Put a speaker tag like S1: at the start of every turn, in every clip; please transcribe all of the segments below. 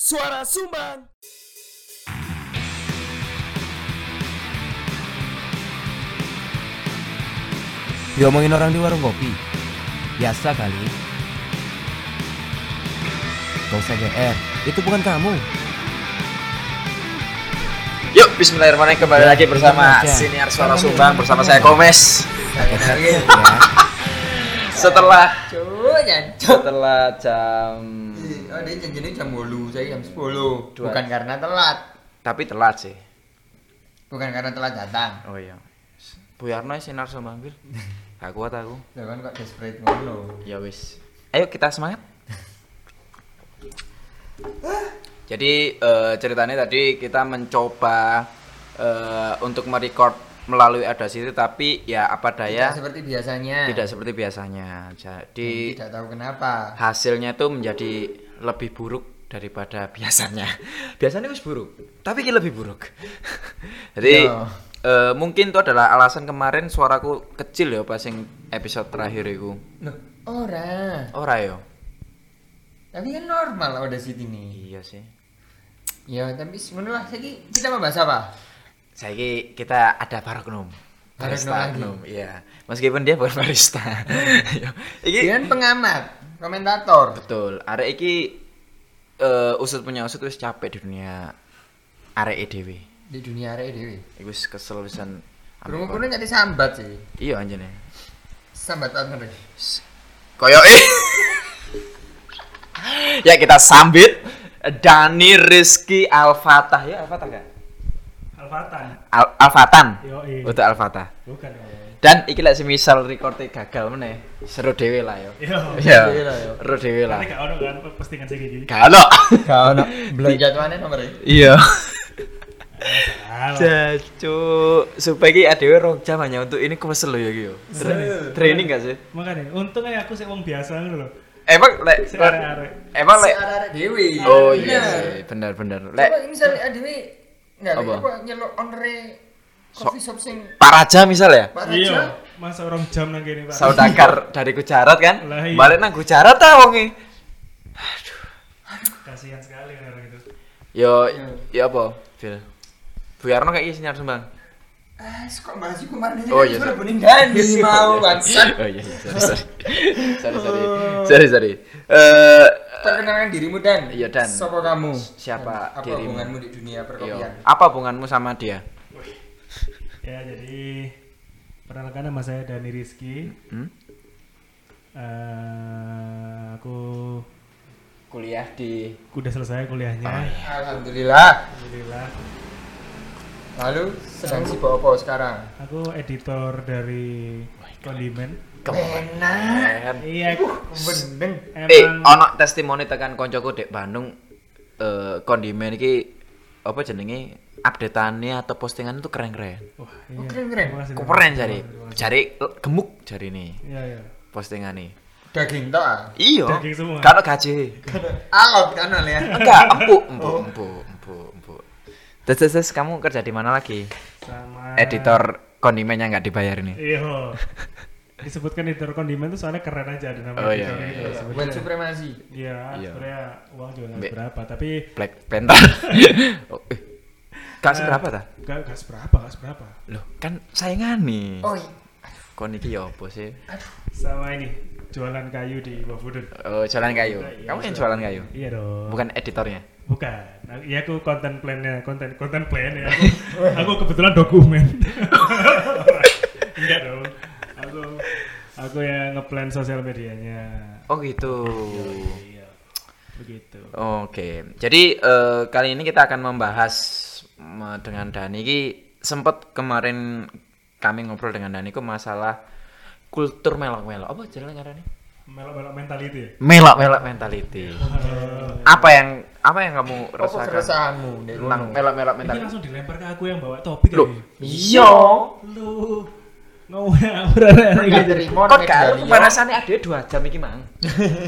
S1: Suara Sumbang.
S2: Diomongin orang di warung kopi Biasa kali Gak usah GR Itu bukan kamu
S3: Yuk, bismillahirrahmanirrahim kembali
S2: Ya,
S3: lagi bersama
S2: begitu aja.
S3: Siniar Suara Sumbang bersama saya Komes.
S2: ya.
S3: Setelah
S1: Cuyan.
S3: setelah jam
S1: Oh dia janjinya jam 8, saya jam 10.
S3: Dua.
S1: Bukan karena telat,
S3: tapi telat sih.
S1: bukan karena telat datang.
S3: Oh iya. Bu Yarno Sinar Sumbang Bil. Gak kuat aku.
S1: Lah kan kok desperate ngono.
S3: Ya wis. Ayo kita semangat. Jadi eh, ceritanya tadi kita mencoba eh, untuk merecord melalui Audacity tapi ya apa daya
S1: Ya, seperti biasanya.
S3: tidak seperti biasanya. Jadi
S1: Tidak tahu kenapa.
S3: hasilnya tuh menjadi lebih buruk daripada biasanya. Biasanya wis buruk, tapi ini lebih buruk. Jadi
S1: Iya.
S3: eh, mungkin itu adalah alasan kemarin suaraku kecil ya pas yang episode terakhir itu.
S1: Loh, ora.
S3: Ora ya? yo.
S1: Tapi kan normal udah sini nih.
S3: Iya sih.
S1: Ya, tapi ngono lah saiki kita membahas apa?
S3: Saiki kita ada Baroknum.
S1: Baroknum
S3: Barista
S1: lagi.
S3: Gnum, iya. Meskipun dia bukan barista. Iya. Iki
S1: Dengan pengamat, komentator.
S3: betul. Arek iki eh, usut punya usut wis capek di dunia arek dhewe.
S1: di dunia arek dhewe.
S3: Iku wis kesel pisan.
S1: Krungu kene nyati sambat sih.
S3: Iya anjene.
S1: Sambat banget.
S3: Koyoke. eh. ya kita sambit Dani Rizky Alfatah ya Alfatah kan?
S4: Alfatan.
S3: Al Alfatan.
S4: Yoi.
S3: Untuk Alfatah.
S4: eh, Bukan.
S3: Dan iki lek semisal recorde gagal meneh, seru dhewe lah yo.
S4: Yo.
S3: Iya.
S1: Dhewe lah, yo.
S3: Seru dhewe lah.
S4: Tapi gak ono kan postingan sing iki.
S3: Gak ono.
S1: Kau nak belum jadwalnya nomornya?
S3: Iya.
S4: Salah.
S3: Jacu, supaya ki adewe rong jam hanya untuk ini kesel lo ya ki yo. Tra- Training gak sih?
S4: Makane untungnya aku sik wong biasa ngono lho.
S3: Emang lek
S4: Sik arek-arek.
S3: emang
S1: Si
S3: lek
S1: arek dewi.
S3: Oh iya sih, benar-benar. Lek
S1: Coba misalnya ada dewi, nggak
S3: Apa?
S1: apa nyelok onre coffee shop sing
S3: Pak Raja misal ya,
S1: Pak Raja.
S4: Iya. Masa orang jam nang kene, Pak.
S3: saudagar dari Gujarat kan,
S4: Lah iya.
S3: balik nang Gujarat ta e? wonge.
S4: Kasihan sekali gitu. orang itu.
S3: Yo, yo apa? Fil. Bu Yarno kayak gini sinyal sumbang.
S1: Ah, kok bahas iku kemarin aja
S3: Oh,
S1: kan
S3: iya,
S1: sudah
S3: sorry.
S1: bening dani mau bangsat.
S3: Oh iya, iya, sorry, sorry, sorry, sorry, sorry, sorry. Eh,
S1: Perkenalkan dirimu dan.
S3: Iya, Dan.
S1: Siapa kamu?
S3: Siapa
S1: Apa
S3: dirimu? Iya.
S1: hubunganmu di dunia
S3: yo,
S1: perkopian?
S3: apa hubunganmu sama dia?
S4: Ya jadi perkenalkan nama saya Dani Rizky.
S3: Hmm?
S4: Eh, aku
S3: Kuliah di
S4: udah selesai kuliahnya.
S3: Oh, iya.
S1: Alhamdulillah.
S4: Alhamdulillah.
S1: Lalu sedang sibuk apa sekarang?
S4: Aku editor dari
S3: Oh
S4: kondimen.
S1: Enak.
S4: Iya.
S1: Bening.
S3: Uh, Eh,
S4: Emang
S3: ono testimoni tekan koncoku dek Bandung eh kondimen iki apa jenenge updateannya atau postingan itu keren-keren.
S4: Wah,
S1: Oh,
S4: iya.
S1: keren, keren.
S4: Terima kasih, terima
S3: Keren
S4: kasih,
S3: jari,
S4: terima kasih.
S3: jari eh, gemuk jari nih
S4: Iya, iya.
S3: postingan nih.
S1: Daging tok ah.
S3: Iya.
S4: Daging semua.
S3: Kalau gaji.
S1: Alot kan Ol, ya.
S3: Enggak, empuk, empuk,
S4: Oh.
S3: empuk, empuk, empuk. Terus, terus, terus, kamu kerja di mana lagi?
S4: Sama
S3: Editor kondimen yang nggak dibayar ini.
S4: Iya. Disebutkan editor kondimen itu soalnya keren aja ada nama
S3: Oh, iya, iya,
S4: editor itu.
S3: iya.
S1: Buat
S4: Sebenarnya-
S1: supremasi.
S4: Iya,
S3: Iya.
S4: sebenarnya uang juga nggak
S3: Mbak.
S4: berapa, tapi
S3: Black Panther. oh, eh. Kak seberapa ta?
S4: nggak nggak seberapa, nggak seberapa.
S3: Loh, kan saingan nih.
S1: Oi.
S3: Kon iki ya apa sih?
S4: Sama ini jualan kayu di Wafudun.
S3: Oh, jualan kayu. Kamu yang jualan kayu?
S4: Iya dong.
S3: Bukan editornya.
S4: Bukan. Nah, Iya aku konten plan-nya, konten konten plan ya. Aku, aku kebetulan dokumen. Enggak dong. Aku aku yang ngeplan sosial medianya.
S3: Oh gitu.
S4: Iya. Begitu.
S3: Oke. Jadi eh, kali ini kita akan membahas mm, dengan Dani ki sempat kemarin kami ngobrol dengan Dani ku masalah kultur melok-melok. Apa jalan ngarane?
S4: Melok-melok mentality ya.
S3: Melok-melok mentality. Apa yang apa yang kamu
S1: Apa
S3: rasakan
S1: keresahanmu? Nek
S3: tentang
S1: ngono?
S3: melok-melok
S4: Ini
S3: mentality?
S4: langsung dilempar ke aku yang bawa topik
S3: Loh,
S4: tadi.
S3: iya.
S4: Lu ngomong apa Rara?
S1: Nggak terima
S3: Kok
S1: nek
S3: gak
S1: dari
S3: pemanasannya ada dua jam iki, Mang.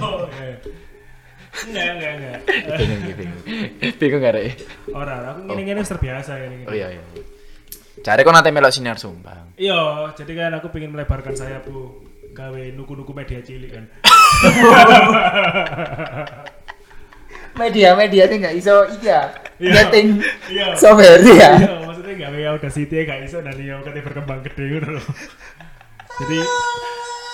S4: Oh, iya. Enggak, enggak, enggak.
S3: bingung, bingung. Bingung gak, Rek?
S4: Orang, aku ngene-ngene wis terbiasa ngene-ngene.
S3: Oh iya iya. Cari kok nanti melok sinar sumbang.
S4: Iya, jadi kan aku pengen melebarkan sayap, Bu. Gawe nuku-nuku media cilik kan.
S1: media-media ini nggak iso iya
S4: Iya.
S1: nyeting
S4: Iya.
S1: software ya.
S4: Iya, maksudnya nggak ya udah city nggak iso dan ya katanya berkembang gede gitu loh. jadi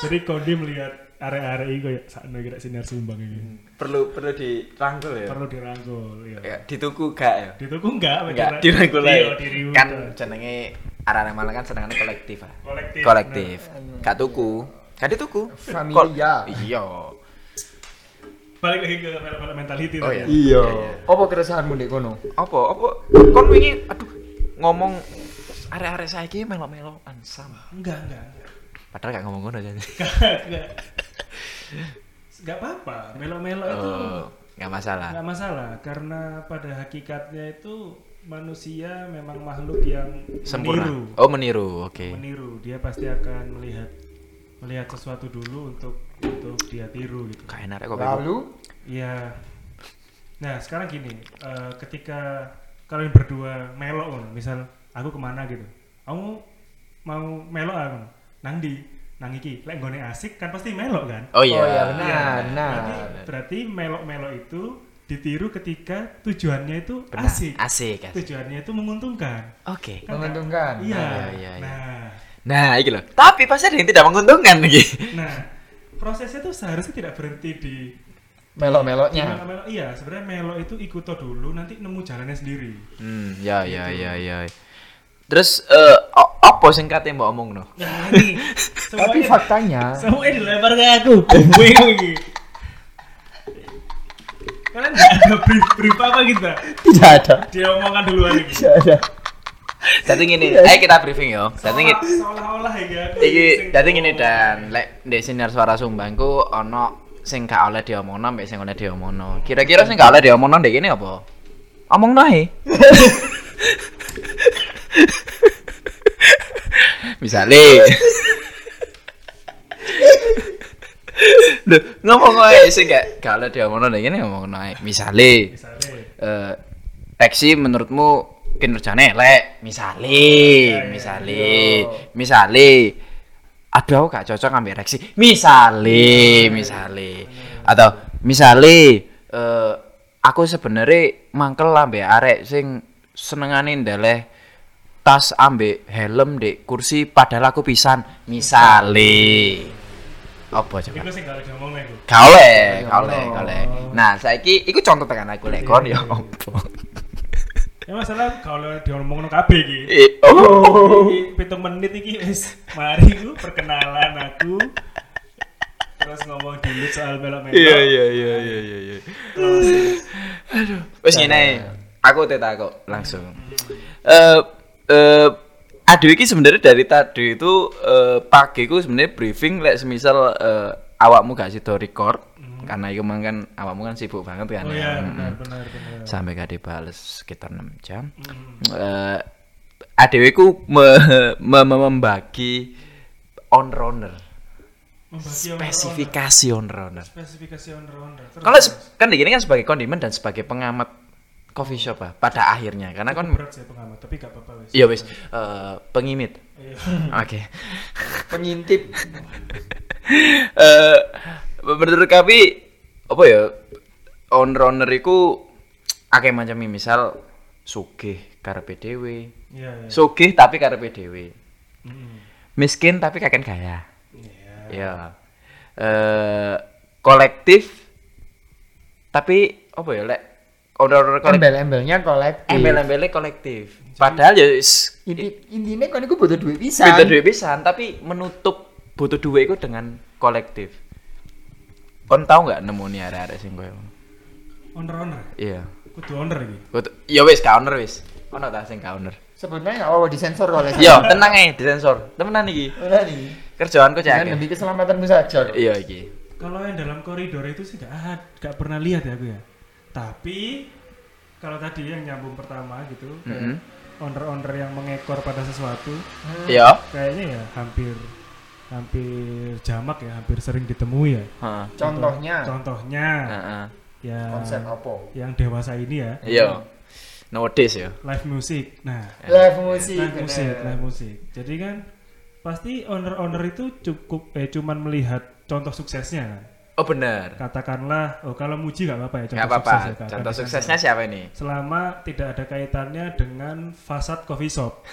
S4: jadi Kondi melihat area-area ini kayak sakno kira sinar sumbang ini.
S3: Hmm. perlu perlu dirangkul ya.
S4: Perlu dirangkul ya.
S3: ya dituku gak ya?
S4: Di tuku enggak,
S3: Enggak, dirangkul aja. Kan
S4: Kan
S3: jenenge arah-arah malah kan senengane kolektif ah.
S4: kolektif.
S3: kolektif gak tuku gak dituku Kol-
S1: Familia.
S3: iya
S4: Nah, Balik lagi ke film mentality
S3: Oh, iya.
S4: tadi.
S1: Iya. Apa keresahanmu di kono?
S3: apa apa kon wingi aduh ngomong arek-arek saiki melo-melo ansam
S4: Enggak, enggak. enggak.
S3: padahal gak ngomong ngono jadi
S4: Enggak, enggak. Enggak apa-apa. Melo-melo itu
S3: oh, gak masalah
S4: nggak masalah karena pada hakikatnya itu manusia memang makhluk yang
S3: sempurna
S4: meniru.
S3: oh meniru oke
S4: meniru dia pasti akan melihat melihat sesuatu dulu untuk untuk dia tiru gitu
S3: gak enak kok aku
S1: Lalu
S4: iya nah sekarang gini eh, ketika kalian berdua melok ngono, misal aku kemana gitu kamu mau melok aku nang di nang iki lek nggone asik kan pasti melok kan
S3: oh
S1: Oh iya,
S3: iya
S1: benar, Nah. benar.
S4: berarti, berarti melok-melok itu ditiru ketika tujuannya itu
S3: Benar.
S4: asik
S3: asik asik.
S4: tujuannya itu menguntungkan
S3: oke
S4: Kan-
S1: menguntungkan.
S3: Iya,
S4: iya
S3: iya, iya.
S4: nah
S3: nah iki loh tapi pasti ada yang tidak menguntungkan lagi
S4: Nah, prosesnya tuh seharusnya tidak berhenti di
S1: Melok-meloknya.
S4: melo-melo. Iya, sebenarnya melo itu ikuto dulu, nanti nemu jalannya sendiri.
S3: hmm ya ya ya ya terus eh o- apa sing kate mbok omong no
S4: Nah, ini
S1: Tapi
S4: semuanya,
S1: faktanya
S4: semuanya dilempar ke aku. Gue ini. Kalian nggak ada brief, brief apa kita?
S1: tidak ada.
S4: Dia omongan duluan ini.
S1: Tidak ada.
S3: jadi gini ayo kita briefing yo jadi
S4: Seolah-
S3: gini
S4: Seolah-olah ya aku.
S3: Iki
S4: sing-
S3: dadi ngene dan lek ndek sinar suara sumbangku ana sing gak oleh diomongno mbek sing oleh diomongno. Kira-kira sing gak oleh diomongno ndek kene apa? Omongno ae. Misale Loh, ngomong ae sing gak gak oleh diomongno ndek kene ngomongno ae. Misale
S4: Misalnya,
S3: eh Peksi menurutmu kinerjanya elek misale misale misale aduh aku gak cocok ambil reksi misale misale atau misale eh aku sebenarnya mangkel ambil arek sing senengane ndeleh tas ambek helm dek kursi padahal aku pisan misale apa coba
S4: itu sih nggak ada ngomong aku.
S3: Kale, kale, kale. Nah, saiki iku contoh tekan aku lek kon ya opo.
S4: Ya masalah kalau diomongin kabeh iki.
S3: Eh, Oh.
S4: Iki pitung menit iki wis mari ku perkenalan aku terus ngomong dulu soal belok melok
S3: Iya, iya, iya, iya, iya, iya. Wis ngene. ae. Aku tetakok langsung. Eh eh aduh iki sebenarnya dari tadi itu eh pagi ku sebenarnya briefing lek semisal eh, awakmu gak sido record karena iku mang kan awakmu kan sibuk banget kan.
S4: oh
S3: ya.
S4: iya
S3: Mm-mm.
S4: benar benar benar
S3: sampai gak dibales sekitar 6 jam. Eh ADW ku me- me- me- membagi on runner,
S4: membagi orang-orang.
S3: spesifikasi on runner.
S4: spesifikasi owner
S3: Kalau se- kan di gini kan sebagai kondimen dan sebagai pengamat coffee shop ah, pada akhirnya karena kon
S4: berat saya pengamat tapi gak apa-apa wis
S3: Hmm. iya wis eh, pengimit.
S4: Iya.
S3: Oke.
S1: Pengintip.
S3: Eh menurut kami apa ya on runner iku akeh macam misal sugih karepe dhewe,
S4: iya iya
S3: sugih tapi karepe dhewe.
S4: Mm-mm.
S3: miskin tapi kakek kaya
S4: iya
S3: ya eh kolektif tapi apa ya lek order kolektif
S1: Embel-embelnya
S2: Iya.
S1: kolektif.
S3: embel embelnya kolektif padahal ya wis
S1: Inti intinya kan aku butuh duit pisan.
S3: pinter duit pisan tapi menutup butuh duit itu dengan kolektif kon tau nggak nemu nih ada ada sing koyo ngono?
S4: owner owner
S3: iya
S4: kudu owner iki
S3: Gua tu- ya wis counter wis ono ta sing counter
S1: Sebenarnya nggak apa-apa disensor oleh
S3: yo tenang ae disensor temenan iki
S1: Udah nih.
S3: kerjaanku
S1: Jangan
S3: cek
S1: demi keselamatanmu saja. loh.
S3: iya iki
S4: kalau yang dalam koridor itu sih gak ada gak pernah lihat ya aku ya tapi kalau tadi yang nyambung pertama gitu
S3: Mhm.
S4: owner-owner yang mengekor pada sesuatu
S3: iya
S4: kayaknya ya hampir hampir jamak ya hampir sering ditemui ya
S3: heeh Nah.
S1: Contohnya
S4: contohnya
S3: heeh
S4: ya
S1: konsep apa?
S4: yang dewasa ini ya
S3: iya nowadays ya
S4: live music nah
S1: Live musik.
S4: live music
S1: bener.
S4: live music jadi kan pasti owner owner itu cukup eh cuman melihat contoh suksesnya kan
S3: Oh bener.
S4: katakanlah oh kalau muji nggak apa-apa ya
S3: Gak
S4: sukses ya,
S3: apa-apa.
S4: Kak.
S3: Contoh
S4: Katakan-
S3: suksesnya siapa ini?
S4: selama tidak ada kaitannya dengan fasad coffee shop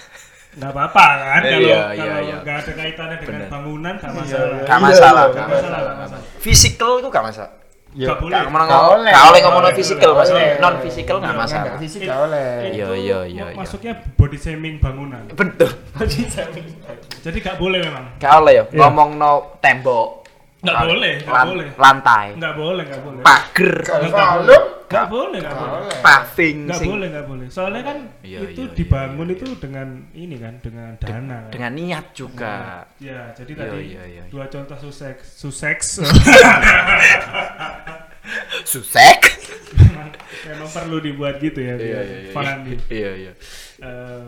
S4: nggak apa-apa kan
S3: Iya,
S4: kalau
S3: iya,
S4: kalau
S3: iya.
S4: nggak ada kaitannya dengan
S3: Bener.
S4: bangunan nggak
S1: iya.
S4: masalah
S3: Gak
S1: Iya,
S3: masalah,
S1: iya,
S3: gak
S1: iya.
S3: masalah. nggak masalah. Physical itu gak masalah.
S1: Ya,
S4: Nggak boleh.
S3: Gak ngomong
S1: Nggak
S3: ngomong,
S1: boleh.
S3: gak oleh ngomong
S1: Nggak
S3: physical,
S1: boleh.
S3: maksudnya non physical gak
S1: Nggak,
S3: masalah.
S1: nggak, fisik nggak boleh.
S4: Itu
S3: Iya, iya, iya,
S4: mak-
S3: iya.
S4: masuknya body shaming bangunan
S3: Betul.
S4: jadi nggak boleh memang
S3: Gak oleh ya,
S4: Iya.
S3: ngomong no tembok.
S4: nggak
S3: lan-
S4: boleh nggak
S3: lan-
S4: boleh
S3: Lantai.
S4: nggak boleh nggak boleh
S3: Pager.
S1: Kalau
S4: Nggak
S1: Valum,
S4: nggak boleh nggak
S1: nggak
S4: boleh
S1: boleh.
S3: Paving.
S4: nggak
S3: sing-
S4: boleh nggak boleh soalnya kan
S3: Iya,
S4: itu
S3: iya, iya,
S4: dibangun
S3: iya,
S4: itu dengan ini kan dengan dana kan.
S3: Dengan niat juga.
S4: ya jadi
S3: Iya,
S4: tadi
S3: iya, iya.
S4: dua contoh suseks suseks
S3: Susek.
S4: memang perlu dibuat gitu ya biar fun gitu.
S3: Iya, iya.
S4: Eh,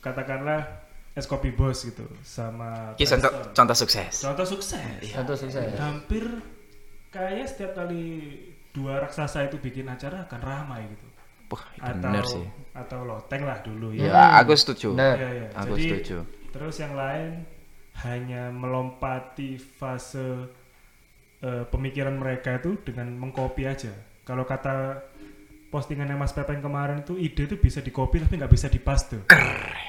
S4: katakanlah es kopi bos gitu sama
S3: Ini Iya, contoh, Iya.
S4: Preston.
S3: contoh sukses.
S4: Contoh sukses
S1: Contoh sukses.
S4: hampir kayak setiap kali dua raksasa itu bikin acara akan ramai gitu
S3: Wah,
S4: atau
S3: Iya, bener sih.
S4: atau loteng lah dulu ya,
S3: Ya, aku setuju.
S1: Nah,
S4: Iya, iya.
S3: Aku
S4: Jadi,
S3: setuju.
S4: terus yang lain hanya melompati fase eh, pemikiran mereka itu dengan mengcopy aja kalau kata postingannya Mas Pepen kemarin itu ide itu bisa dicopy tapi nggak bisa dipaste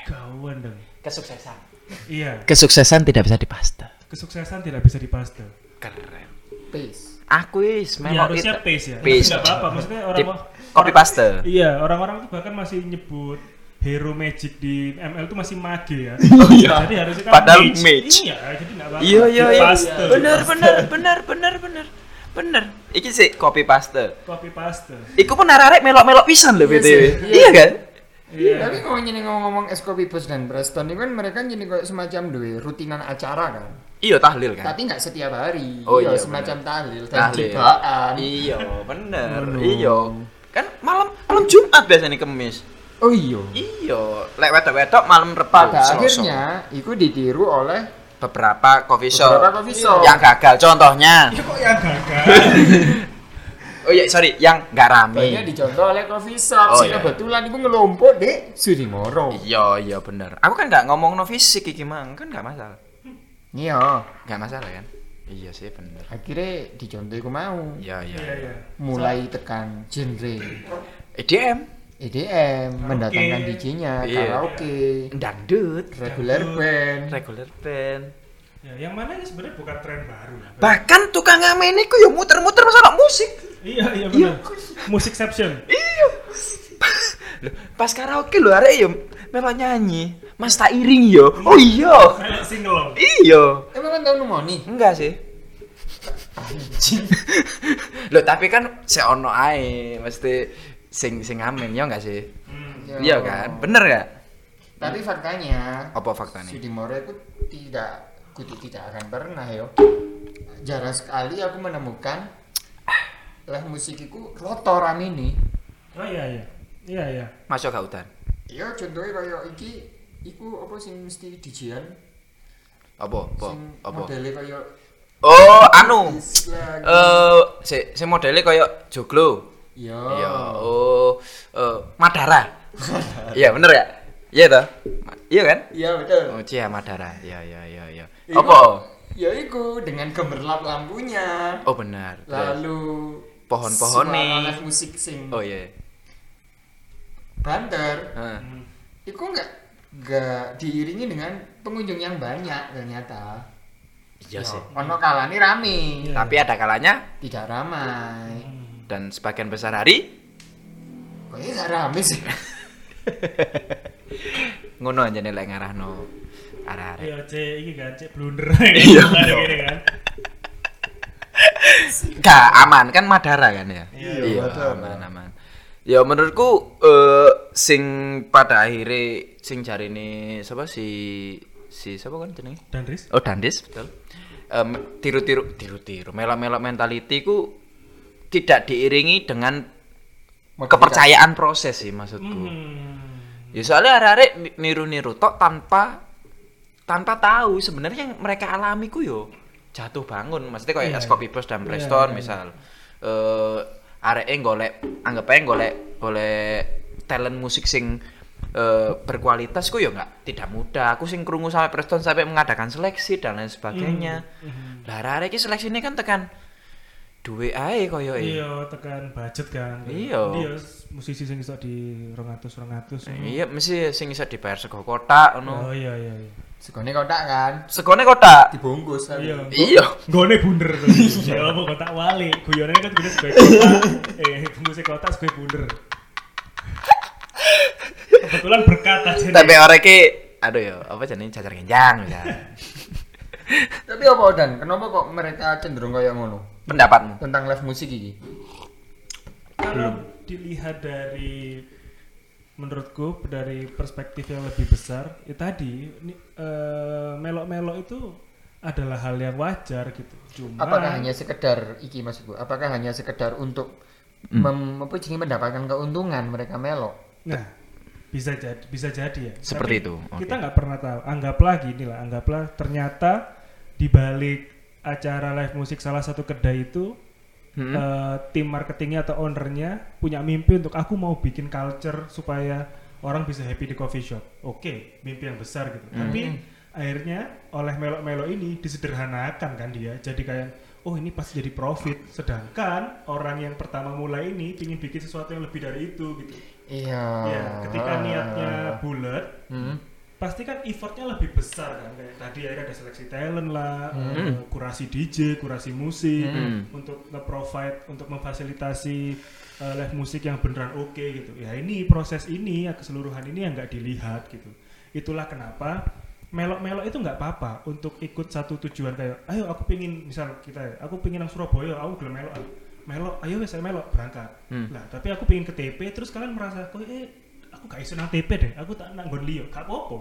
S4: Gawan dong
S3: Kesuksesan.
S4: iya
S3: Kesuksesan tidak bisa dipasta.
S4: kesuksesan tidak bisa dipaste
S3: Keren.
S1: peace.
S3: Aku is
S4: ya
S3: memang
S4: harusnya
S3: it-
S4: pace ya
S3: pace.
S4: tapi nggak apa-apa maksudnya orang
S3: Tip- copy paste.
S4: iya orang-orang tuh bahkan masih nyebut hero magic di ML tuh masih mage ya jadi harusnya
S3: Oh, iya.
S4: kan
S3: Padahal
S4: mage.
S3: mage.
S4: iya jadi nggak apa-apa
S3: Iya iya iya.
S4: Dipaste.
S3: Bener bener bener bener bener bener. Iki sih copy paste.
S4: copy paste
S3: Iku pun arek melok-melok pisan lho BTW.
S1: Iya sih, iya.
S3: Iya kan?
S4: iya
S1: Tapi kalau nyini ngomong-ngomong es kopi bos dan Preston itu kan mereka nyini kayak semacam duwe rutinan acara kan.
S3: Iya tahlil kan.
S1: Tapi nggak setiap hari. Ya,
S3: Oh, iya,
S1: semacam
S3: benar.
S1: tahlil dan
S3: Tahlil.
S1: cibaan.
S3: Iya bener.
S4: Aduh.
S3: Iya. Kan malam malam Jumat biasanya kemis.
S1: Oh iya.
S3: Iya, lek wedok-wedok malam Rebo.
S1: Pada
S3: Selasa.
S1: akhirnya itu ditiru oleh
S3: beberapa coffee shop.
S1: Beberapa coffee shop. Iya.
S3: Yang gagal contohnya.
S4: kok yang gagal
S3: Oh iya, sorry, yang nggak
S1: banyak
S3: rame.
S1: dicontoh oleh coffee shop.
S3: Oh,
S1: sing
S3: iya.
S1: kebetulan itu ngelompok di Sudimoro.
S3: Iya, iya bener. Aku kan nggak ngomong no fisik iki mang, kan nggak masalah.
S1: Iya.
S3: Nggak masalah kan? Iya sih bener.
S1: Akhirnya dicontoh iku mau.
S3: Iya, iya.
S4: iya iya
S1: Mulai tekan genre
S3: E EDM,
S1: EDM, mendatangkan
S4: Karaoke.
S1: DJ-nya,
S3: Iya.
S1: karaoke,
S3: dangdut,
S1: regular band.
S3: regular band.
S4: ya yang mana ini sebenarnya bukan tren baru ya. lah.
S3: Bahkan tukang ngamen iku ya muter-muter masalah musik.
S4: iya iya benar musicception
S3: Iya. Loh, pas karaoke lho arek ya melo nyanyi. Mas tak iring yo. Oh iya.
S4: kayak single
S3: Iya.
S1: Emang kan tahun mau nih?
S3: Enggak sih. Loh, tapi kan seono ae mesti sing sing ngamen ya enggak sih?
S1: Oh.
S4: Hmm.
S3: Iya kan? Bener enggak?
S1: Tapi faktanya
S3: Apa faktanya?
S1: Sudimoro itu tidak kudu tidak akan pernah yo. Jarang sekali aku menemukan lah musikiku rotoran ini.
S4: oh iya iya iya iya
S3: Masuk gak hutan.
S1: Iya contohnya kayak iki iku apa sih mesti dijian
S3: Apa? Apa?
S1: sing
S3: Apa?
S1: modelnya kayak
S3: Oh, anu.
S1: is lagi.
S3: Eh, si si modelnya kayak joglo.
S1: Iya.
S3: Iya. Oh, eh, Madara. Iya, bener ya? Iya toh? Ma- Iya kan?
S1: Iya betul.
S3: Oh, Cia Madara. Iya, iya, iya, iya.
S1: Iku-
S3: Apa?
S1: Ya iku dengan gemerlap lampunya.
S3: Oh, benar.
S1: Lalu
S3: Pohon-pohon nih.
S1: suara live musik sing
S3: Oh iya. Ah.
S1: banter.
S3: Heeh.
S4: Hmm.
S1: Iku enggak enggak diiringi dengan pengunjung yang banyak ternyata.
S3: Iya sih.
S1: Ono kalane
S3: Iya.
S1: rame,
S4: Iya.
S3: Tapi ada kalanya
S1: tidak ramai.
S3: dan sebagian besar hari
S1: Kayaknya gak rame sih.
S3: ngono aja nih lek ngarahno arah-arah.
S4: iya cek ini kan cek blunder iya kan
S3: Enggak aman kan Madara kan ya.
S1: Iya, Madara.
S3: aman aman. Ya menurutku eh sing pada akhirnya sing cari ini siapa si si siapa kan jenenge?
S4: dan Riz
S3: Oh Dandis betul. Em, tiru-tiru tiru-tiru melok-melok mentality ku tidak diiringi dengan kepercayaan proses sih maksudku.
S4: Hmm.
S3: Ya soalnya arek-arek niru-niru tok tanpa tanpa tahu sebenarnya yang mereka alami ku yo jatuh bangun. Maksudnya kayak
S4: Iya.
S3: es kopi bos dan
S4: Iya,
S3: Preston
S4: iya.
S3: misal. Eh arek golek anggap aja golek golek talent musik sing eh, berkualitas ku yo nggak tidak mudah. Aku sing krungu sampai Preston
S4: Hmm,
S3: sampai mengadakan seleksi dan lain sebagainya. Lah arek-arek iki seleksine kan tekan duwe ae koyo e.
S4: Iya, tekan budget kan.
S3: Iya.
S4: Iya, s- musisi sing iso di 200 200.
S3: Iya, mesti sing iso dibayar sego kotak
S4: Oh
S3: ngono.
S4: iya iya iya.
S1: Segone kotak kan
S3: Segone kotak.
S1: dibungkus tapi.
S4: Iya.
S3: Iya.
S4: Gone bunder. Ya apa kotak wali. Guyonane kan gede sebagai kotak. Eh, bungkusnya kotak sebagai bunder. Kebetulan berkat aja. nih.
S3: Tapi orang ki aduh ya, apa jenenge cacar kenjang ya.
S1: Tapi apa dan kenapa kok mereka cenderung kayak ngono
S3: Pendapatmu.
S1: tentang live musik iki?
S4: Kalau dilihat dari menurutku dari perspektif yang lebih besar, ya tadi ini, eh, melok-melok itu adalah hal yang wajar gitu. Cuma
S1: Apakah hanya sekedar iki maksud gua? Apakah hanya sekedar untuk
S4: Hmm.
S1: mem, apa jenenge, mendapatkan keuntungan mereka melok?
S4: Nah, bisa jadi, bisa jadi ya.
S3: Seperti itu, oke.
S4: Kita nggak pernah tahu. Anggaplah gini lah, anggaplah ternyata di balik acara live musik salah satu kedai itu
S3: Hmm.
S4: eh, tim marketingnya atau ownernya punya mimpi untuk aku mau bikin culture supaya orang bisa happy di coffee shop. Oke, mimpi yang besar gitu.
S3: Hmm.
S4: Tapi akhirnya oleh melo-melo ini disederhanakan kan dia. Jadi kayak oh ini pasti jadi profit. Sedangkan orang yang pertama mulai ini ingin bikin sesuatu yang lebih dari itu gitu.
S1: Iya. Eh,
S4: Ya, ketika niatnya bulat,
S1: Hmm.
S4: pasti kan effortnya lebih besar kan. Kayak tadi akhirnya ada seleksi talent lah, eh, kurasi DJ, kurasi musik, untuk nge-provide, untuk memfasilitasi eh, live musik yang beneran oke gitu. Ya ini proses ini, ya, keseluruhan ini yang nggak dilihat gitu. Itulah kenapa melok-melok itu nggak apa-apa untuk ikut satu tujuan kayak ayo aku pingin misal kita ya, aku pingin nang Surabaya aku gelem melok ah. melok ayo wes ayo melok berangkat lah tapi aku pingin ke TP terus kalian merasa kok eh aku gak iso nang TP deh aku tak nang nggon liyo gak apa-apa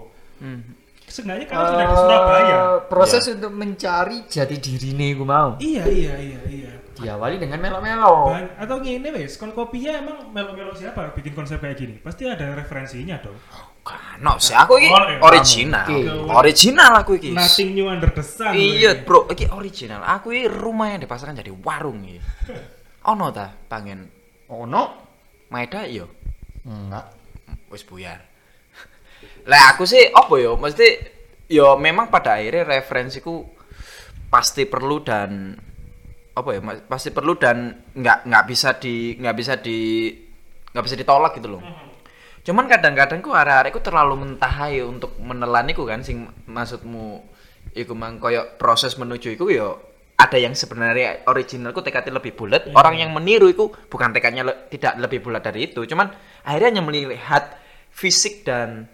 S4: seenggaknya kalian sudah di Surabaya
S1: Eh, proses untuk mencari jati diri nih gue mau.
S4: iya iya iya iya
S1: Diawali dengan melo-melo.
S4: Ban- atau gini wes kon kopinya emang melok-melok siapa bikin konsep kayak gini pasti ada referensinya dong
S3: Kano sih aku iki
S4: Oh, iya.
S3: original.
S1: Oke.
S3: Original aku iki.
S4: nothing kan, new under the sun
S3: Iya,
S4: weh.
S3: Bro, iki original. Aku iki rumah yang dipasarkan jadi warung iki. Ono ta pangen
S1: Ono?
S3: Maeda yo.
S1: Enggak.
S3: wis buyar. Lah aku sih apa ya? Mesti ya memang pada akhirnya referensiku pasti perlu dan apa ya? mas- Pasti perlu dan nggak nggak bisa di nggak bisa di nggak bisa ditolak gitu loh. Cuman kadang-kadang ku arah ku terlalu mentah ya untuk menelan iku kan sing maksudmu iku mang koyo proses menuju iku yo ada yang sebenarnya originalku tekadnya lebih bulat, orang yang meniru itu bukan tekadnya le- tidak lebih bulat dari itu, cuman akhirnya hanya melihat fisik dan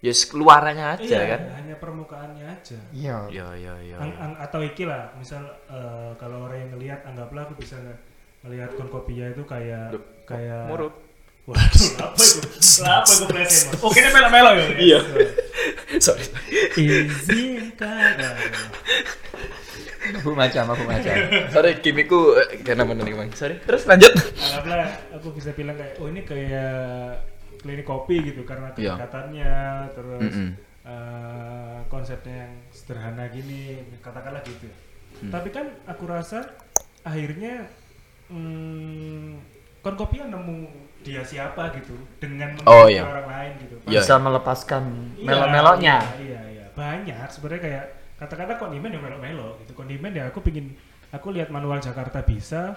S3: ya keluarannya aja
S4: iya
S3: kan.
S4: hanya permukaannya aja
S1: Iya.
S3: Yo yo yo.
S4: Ang- ang- atau iki lah misal eh, kalau orang yang ngelihat anggaplah aku bisa nge- ngelihat konkopia itu kayak kayak
S3: Murut.
S4: waduh apa itu apa itu pleset Mas? oke ini melo melo ya
S3: Iya. Sorry.
S4: izinkan Nah,
S1: Bu macam, aku macam.
S3: Sorry gimmickku eh, karena bener nih, Bang. Sorry. Terus lanjut.
S4: anggaplah aku bisa bilang kayak oh ini kayak klinik kopi gitu karena
S3: Iya.
S4: kedekatannya terus
S3: Mm-mm.
S4: eh, konsepnya yang sederhana gini katakanlah gitu ya.
S3: Mm.
S4: tapi kan aku rasa akhirnya hmm, konkopia nemu dia siapa gitu dengan
S3: Oh,
S4: mengikuti
S3: iya.
S4: orang lain gitu
S3: Iya.
S1: Bisa melepaskan
S4: Iya,
S1: melo-melonya.
S4: iya iya banyak sebenarnya kayak kata-kata kondimen ya melo-melo gitu kondimen ya aku pingin aku lihat manual Jakarta bisa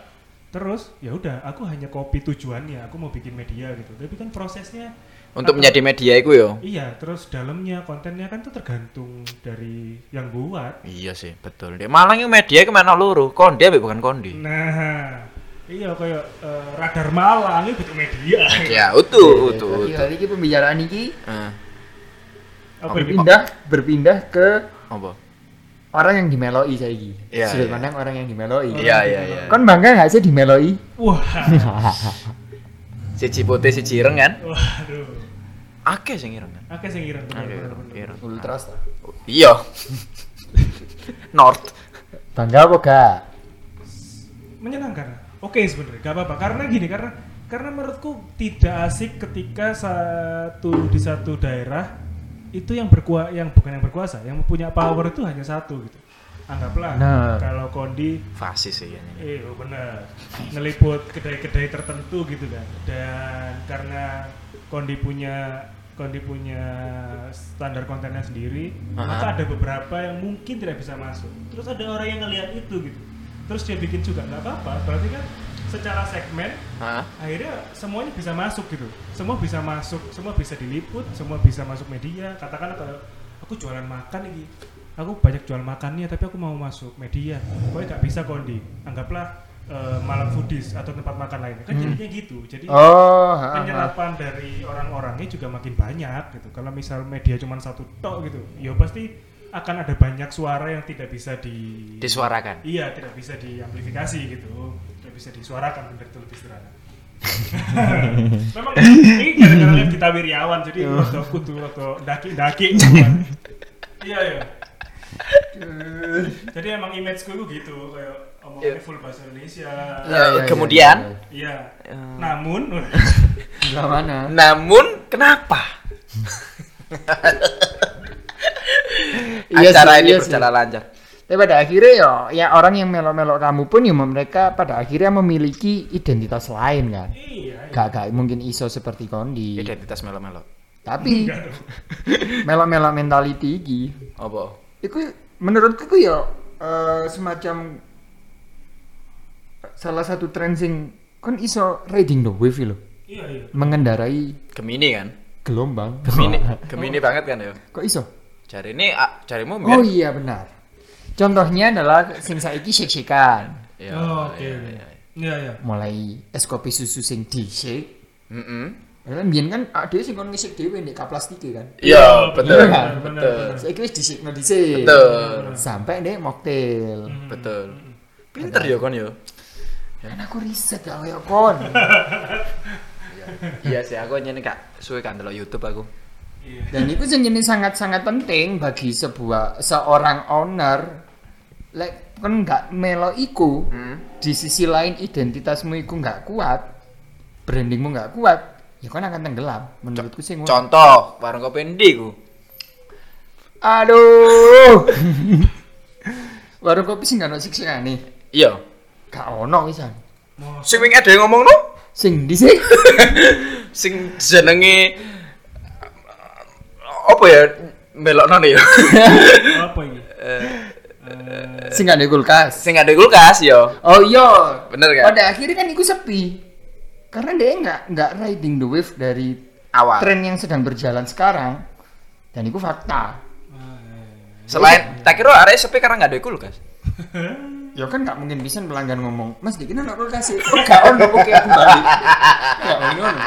S4: terus ya udah aku hanya copy tujuannya aku mau bikin media gitu tapi kan prosesnya
S3: Untuk
S4: kata-
S3: menjadi media iku ya? yo.
S4: iya terus dalamnya kontennya kan tuh tergantung dari yang buat
S3: Iya sih, betul. Di Malang yang media kemana luruh? Kondi apa bukan kondi?
S4: nah iya kayak eh, radar malang itu butuh media
S3: Ya, utuh, utuh,
S1: Jadi
S3: utuh.
S1: hari ini Iya, pembicaraan ini
S3: Eh,
S4: apa ini
S1: berpindah berpindah ke
S3: apa?
S1: orang yang dimeloi saiki.
S3: Iya,
S1: Sudut
S3: iya.
S1: pandang orang yang dimeloi.
S3: Iya, iya, iya.
S1: Kon bangga nggak sih dimeloi?
S4: wah
S3: Siji putih, siji ireng kan?
S4: waduh
S3: Akeh sing ireng kan?
S4: Oke, saya ngirim
S3: Akeh ireng, ireng.
S1: Ultras.
S3: Iya. North.
S1: Bangga apa gak?
S4: menyenangkan oke sebenarnya gak apa-apa karena gini karena karena menurutku tidak asik ketika satu di satu daerah itu yang berkuasa yang bukan yang berkuasa yang punya power itu hanya satu gitu anggaplah
S1: Nah.
S4: kalau kondi
S3: Fasis sih kayaknya.
S4: eh oh bener ngeliput kedai-kedai tertentu gitu kan dan karena kondi punya kondi punya standar kontennya sendiri maka ada beberapa yang mungkin tidak bisa masuk terus ada orang yang ngelihat itu gitu terus dia bikin juga nggak apa-apa berarti kan secara segmen
S3: Hah?
S4: akhirnya semuanya bisa masuk gitu semua bisa masuk semua bisa diliput semua bisa masuk media katakan kalau aku jualan makan ini aku banyak jual makannya tapi aku mau masuk media pokoknya nggak bisa kondi anggaplah eh, malam foodies atau tempat makan lain kan jadinya gitu jadi
S1: Oh, ha,
S3: Iya,
S1: ha.
S4: penyerapan dari orang-orangnya juga makin banyak gitu. Kalau misal media cuma satu tok gitu, ya pasti akan ada banyak suara yang tidak bisa di
S3: Disuarakan.
S4: Iya, tidak bisa diamplifikasi gitu. Tidak bisa disuarakan benar itu lebih sederhana. Memang ini gara-gara lihat kita wiryawan jadi
S3: Oh.
S4: waktu kudu waktu daki-daki. Iya, iya.
S1: Eh.
S4: Jadi emang imageku itu gitu kayak omongannya full bahasa Indonesia.
S1: Iya, iya, iya,
S3: Kemudian?
S1: iya,
S4: Iya.
S3: Oh.
S4: Namun
S1: iya. Lah mana?
S3: Namun kenapa?
S1: Iya sih,
S3: Acara ini
S1: iya sih.
S3: berjalan lancar.
S1: Tapi pada akhirnya ya, ya orang yang melok-melok kamu pun ya mereka pada akhirnya memiliki identitas lain kan.
S4: iya, iya.
S1: Gak, gak mungkin iso seperti kondi.
S3: Identitas melo-melo.
S1: Tapi melok-melok mentality iki.
S3: Apa?
S1: Iku menurutku ku ya eh, semacam salah satu tren sing kon iso riding the wave lho,
S4: Iya, iya.
S1: mengendarai
S3: Gemini kan?
S1: gelombang.
S3: Gemini, Gemini banget kan ya.
S1: Kok iso?
S3: Jari ini, ah, jarimu biar.
S1: Oh iya benar. Contohnya adalah sing saiki shake-shakean.
S3: Iya,
S4: Oh, Oke.
S3: iya,
S4: oke.
S3: iya.
S4: Iya, iya.
S1: Mulai es kopi susu sing di shake
S3: Mm-mm.
S1: Karena mbiyen kan ade sing kon ngisik dhewe nek kaplastike kan.
S3: Iya, betul,
S4: bener,
S1: bener,
S3: betul,
S4: bener.
S1: Saiki wis disikno dhisik.
S3: Betul.
S1: Sampai nek mocktail.
S3: betul. Pinter ya kon yo.
S1: Kan aku riset ya koyo kon.
S3: Iya sih, aku nyanyi kak suwe kan delok YouTube aku.
S4: Iya.
S1: Dan itu jenenge sangat-sangat penting bagi sebuah seorang owner. Lek kon nggak melo iku, di sisi lain identitasmu iku nggak kuat, brandingmu nggak kuat, ya kon akan tenggelam. Menurutku sih ngono.
S3: Contoh, warung kopi ndi ku?
S1: Aduh. Warung kopi sing gak ono siksikane.
S3: Iya.
S1: Gak ono pisan.
S4: Mos-
S3: Sing wingi ada yang ngomong no?
S1: Sing dhisik.
S3: Sing jenenge apa ya? Belokno nih ya.
S4: apa ini?
S1: sing gak ada kulkas.
S3: Sing ada kulkas ya. yo.
S1: Oh iya.
S3: Bener kan?
S1: Pada akhirnya kan iku sepi. Karena dia nggak nggak riding the wave dari
S3: Awal.
S1: tren yang sedang berjalan sekarang. Dan itu fakta.
S4: Ah, iya, iya.
S3: Selain tak kira area sepi karena nggak ada kulkas.
S1: Ya kan nggak mungkin bisa pelanggan ngomong, Mas Dikin anak kulkas sih. Oh nggak ono oke aku balik. Nggak ono.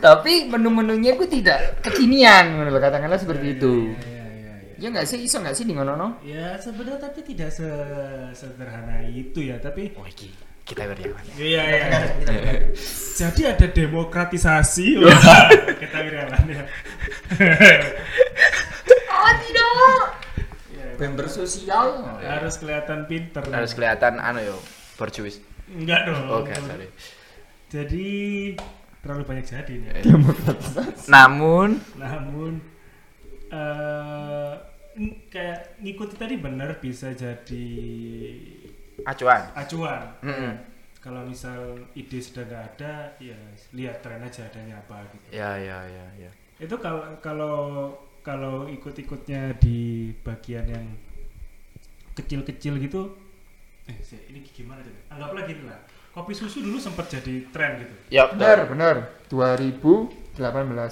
S1: Tapi menu-menunya itu tidak kekinian, menurut katakanlah seperti itu.
S4: Iya, iya, iya.
S1: Ya nggak sih, iso nggak sih di ngono
S4: Ya sebenarnya tapi tidak se- sederhana itu ya, tapi
S3: Oh iki kita beriawan.
S4: Iya, iya. Jadi ada demokratisasi. Wah, kita wirawan ya.
S1: Ah tidak. Member sosial.
S4: Iya, Harus kelihatan pinter.
S3: Harus kelihatan anu yo berjuis.
S4: Enggak dong.
S3: Oke, sorry.
S4: Jadi terlalu banyak jadi ini.
S3: Iya. Namun
S4: namun eh n- kayak ngikuti tadi benar bisa jadi
S3: acuan.
S4: acuan
S3: Mm-mm.
S4: kalau misal ide sudah nggak ada ya lihat tren aja adanya apa gitu
S3: Ya ya ya ya.
S4: itu kalau kalau kalau ikut-ikutnya di bagian yang kecil-kecil gitu eh sih, ini gimana tuh anggaplah gini lah kopi susu dulu sempat jadi tren gitu
S3: Ya
S1: Benar,
S3: betul.
S1: benar. 2018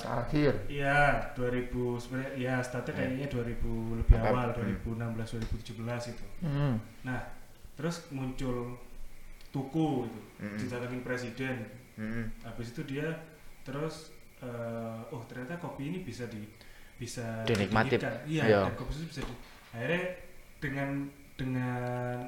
S1: akhir.
S4: Iya, 2000 sebenarnya ya startnya kayaknya 2000 lebih
S3: Apa-
S4: awal 2016 2017 itu.
S1: Hmm.
S4: Nah, terus muncul tuku itu
S3: Mm-mm.
S4: didatangin presiden.
S3: Mm-mm.
S4: Habis itu dia terus eh, oh ternyata kopi ini bisa di bisa
S3: Dinikmati.
S4: ditinggikan. Iya,
S3: Iya.
S4: dan kopi susu bisa di akhirnya dengan dengan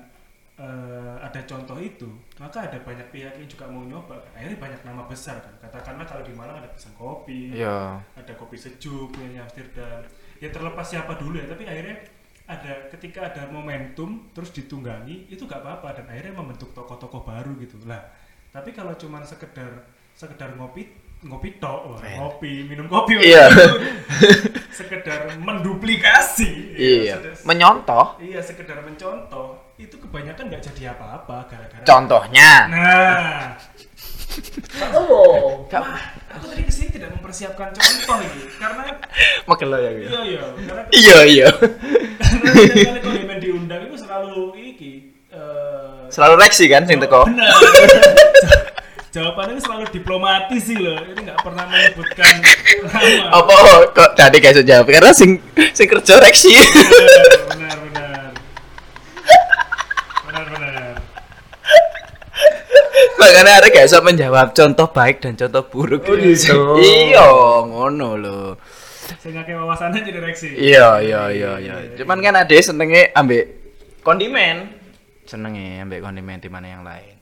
S4: eh, ada contoh itu, maka ada banyak pihak yang juga mau nyoba. Akhirnya banyak nama besar kan. Katakanlah kalau di Malang ada pesan kopi
S3: Ya.
S4: ada kopi sejuk punya Amsterdam ya terlepas siapa dulu ya tapi akhirnya ada ketika ada momentum terus ditunggangi itu gak apa-apa dan akhirnya membentuk tokoh-tokoh baru gitu lah tapi kalau cuman sekedar sekedar ngopi ngopi tok wah,
S3: Eh.
S4: ngopi minum kopi
S3: Iya.
S4: sekedar menduplikasi ya,
S3: Iya.
S4: sedes-
S3: Menyontoh
S4: iya sekedar mencontoh itu kebanyakan nggak jadi apa-apa gara-gara
S3: contohnya.
S4: nah
S1: Oh.
S3: Kak
S4: aku tadi kesini tidak mempersiapkan contoh ini karena
S3: makel ya.
S4: iya iya karena
S3: Iya iya.
S4: karena setiap kali kalau diundang itu selalu selalu iki eh,
S3: Selalu reaksi kan sing teko.
S4: Benar. Jawabannya selalu diplomatis sih loh. Ini nggak pernah menyebutkan nama.
S3: Apa kok tadi gak iso jawab karena sing sing kerja reaksi.
S4: Benar, benar. Benar, benar.
S3: Makanya ada gak iso menjawab contoh baik dan contoh buruk.
S1: Oh, gitu.
S3: Iya, ngono lho.
S4: Saya nggak wawasannya jadi reaksi.
S3: Iya, iya, iya, iya. Cuman kan ade senenge ambek kondimen. Senenge ambek kondimen di mana yang lain.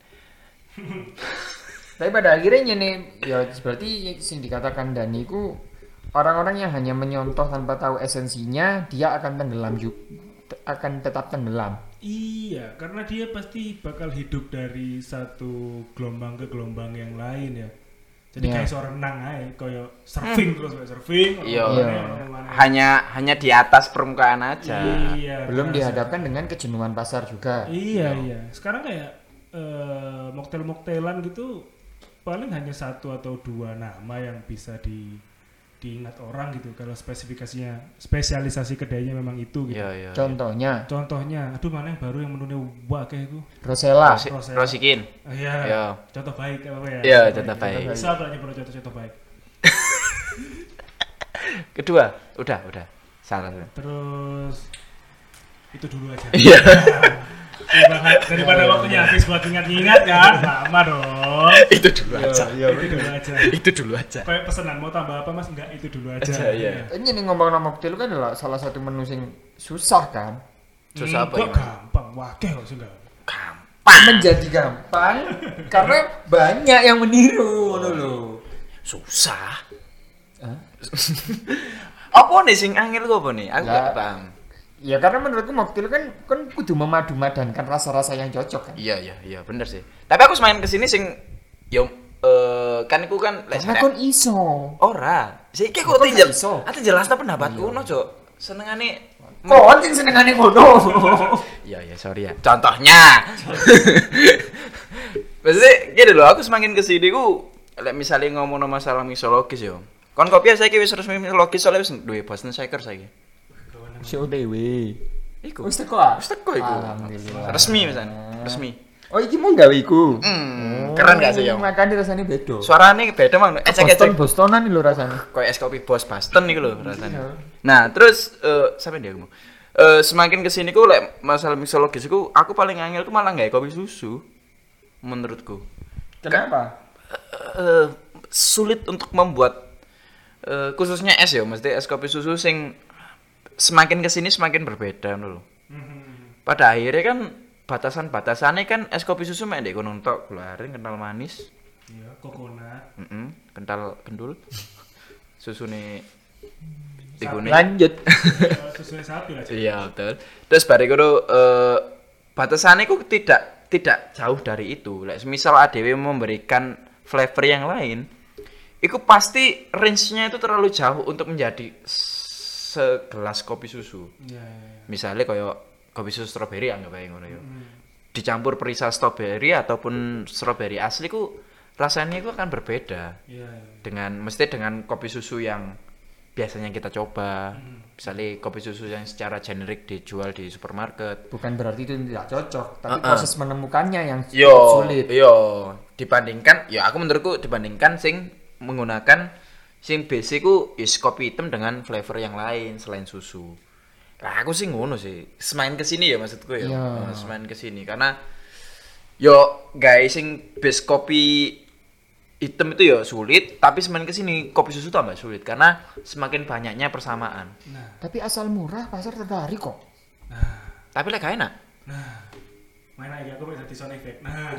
S1: Tapi pada akhirnya nih, ya berarti sing dikatakan Dani ku orang-orang yang hanya menyontoh tanpa tahu esensinya, dia akan tenggelam juga, akan tetap tenggelam.
S4: Iya, karena dia pasti bakal hidup dari satu gelombang ke gelombang yang lain ya. Jadi
S1: Iya.
S4: kayak seorang renang aja, kayak surfing terus kayak surfing.
S3: Iya.
S4: orang-orang orang-orang.
S3: Hanya hanya di atas permukaan aja.
S4: Iya.
S1: Belum
S4: terasa.
S1: dihadapkan dengan kejenuhan pasar juga.
S4: Iya iya. Sekarang kayak eh, moktel-moktelan gitu paling hanya satu atau dua nama yang bisa di diingat orang gitu kalau spesifikasinya spesialisasi kedainya memang itu gitu.
S3: Iya, iya.
S1: Contohnya
S4: Contohnya, aduh mana yang baru yang menunya wah kayak itu.
S1: Rosella.
S3: Rosi-
S4: Rosella.
S3: Rosikin.
S4: Ah, Iya.
S3: Iya.
S4: Contoh baik apa ya?
S3: Iya, contoh baik.
S4: Bisa nggak nyebut contoh-contoh baik?
S3: Kedua, udah, udah. Salah. salah.
S4: Terus itu dulu aja.
S3: Iya.
S4: Daripada- Daripada waktunya habis buat ingat-ingat kan, sama dong.
S3: Itu dulu aja.
S4: itu dulu aja.
S3: Itu dulu aja.
S4: Kayak pesanan mau tambah apa mas? Enggak itu dulu aja.
S3: Aja,
S4: Hmm.
S3: iya.
S1: Ini nih ngomong nama mocktail kan adalah salah satu menu sing susah kan.
S3: Susah apa
S4: Enggak
S3: gimana?
S4: gampang, wakil kok sudah.
S1: Menjadi gampang karena banyak yang meniru ngono lho.
S3: Susah.
S1: Hah?
S3: apa nih sing angel kok apa nih? Aku
S1: Lah.
S3: gak paham.
S1: Ya karena menurutku mocktail kan kan kudu memadu-madankan rasa-rasa yang cocok kan.
S3: Iya, iya, iya, bener sih. Tapi aku semakin kesini sing yo eh, kan aku kan lek
S1: Karena
S3: sana-
S1: kon iso.
S3: Ora. Sik iki
S1: Kok
S3: kok tinjel.
S1: gak iso? Iya.
S3: Ate jelasno pendapatku ngono, Cuk. Senengane
S1: Kon sing senengane ngono.
S3: Iya, iya, sorry ya. Contohnya. Maksudnya gini loh, aku semakin kesini ku lek misalnya ngomong masalah misologis yo. Kon kopi ya, saya wis resmi misologis soalnya wis duwe Boston Shaker saiki.
S1: Show dewe.
S3: Iku.
S1: Wis teko ah.
S3: Wis teko iku.
S1: Alhamdulillah.
S3: Resmi misalnya, resmi.
S1: Oh iki mau gawe iku.
S3: Hmm, keren gak sih yo?
S1: Makane rasane beda.
S3: Suarane beda mang,
S1: Boston
S3: ecek-ecek.
S1: Bostonan lho rasane.
S3: kayak es kopi bos Boston nih loh
S1: Iya.
S3: rasanya. Nah terus eh sampai dia ngomong eh semakin kesini ku lek masalah mixologis ku aku paling angel ku malah nggak kopi susu menurutku
S1: Kenapa?
S3: Eh, sulit untuk membuat eh, khususnya es ya mesti es kopi susu sing semakin kesini semakin berbeda loh.
S5: Mm-hmm.
S3: Pada akhirnya kan batasan batasannya kan es kopi susu main deh gunung tok gula aren kental manis
S4: Iya, coconut.
S3: Mm-mm, kental kendul susu nih
S1: Lanjut.
S4: eh, Susunya sapi lah. Cik.
S3: Iya betul. Terus bariku tuh eh, batasannya ku tidak tidak jauh dari itu. Like, misal ADW memberikan flavor yang lain, itu pasti range-nya itu terlalu jauh untuk menjadi segelas kopi susu.
S4: Iya, iya. iya.
S3: Misalnya kayak kopi susu stroberi anggap aja ngono yo. Dicampur perisa stroberi ataupun stroberi asli ku rasanya itu akan berbeda
S4: Iya, iya.
S3: dengan mesti dengan kopi susu yang biasanya kita coba misalnya kopi susu yang secara generik dijual di supermarket
S1: Bukan berarti itu tidak cocok, tapi
S3: Uh-uh.
S1: proses menemukannya yang
S3: yo
S1: sulit.
S3: yo dibandingkan ya aku menurutku dibandingkan sing menggunakan sing basic ku is kopi hitam dengan flavor yang lain selain susu lah aku sih ngono sih semakin kesini ya maksudku ya
S1: Iya.
S3: Eh, semakin kesini karena yo guys sing base kopi hitam itu ya sulit tapi semakin kesini kopi susu tambah sulit karena semakin banyaknya persamaan
S4: Nah,
S1: Tapi asal murah pasar tertarik kok.
S4: nah,
S3: tapi lek gak enak
S4: nah. Mana lagi aku bisa di sound effect. Nah.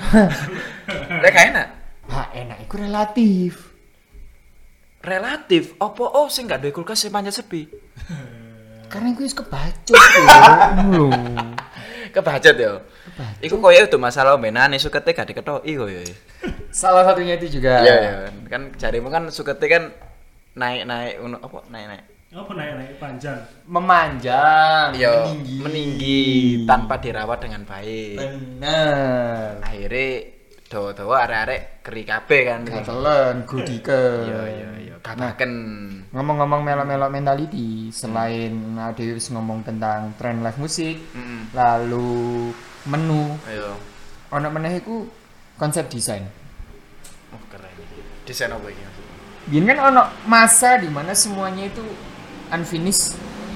S3: lek gak enak
S1: Nah, enak itu relatif.
S3: relatif opo oh sing gak duwe kulkas sing pancet sepi
S1: Karena gue kebacut ya. Lho.
S3: kebajet yo iku koyo itu masalah omenan sukete gak diketoki koyo ya.
S1: Salah satunya itu juga.
S3: iya iya kan. kan jarimu kan sukete kan naik-naik ngono apa naik-naik
S4: Apa naik-naik panjang?
S1: Memanjang,
S3: yo
S1: meninggi.
S3: Iya, meninggi tanpa dirawat dengan baik
S1: Bener.
S3: akhirnya dawa-dawa arek-arek keri kabeh kan
S1: Gatelen, gudiken.
S3: Iya iya iya.
S1: Karena
S3: Bahkan
S1: ngomong-ngomong melo-melo mentality, selain nah, Dewi wis ngomong tentang tren live musik,
S3: Mm-mm.
S1: lalu menu,
S3: ayo.
S1: ono meneh iku konsep desain.
S3: Oh, keren. Desain apa ini? maksudnya?
S1: Biyen kan ono masa di mana semuanya itu unfinished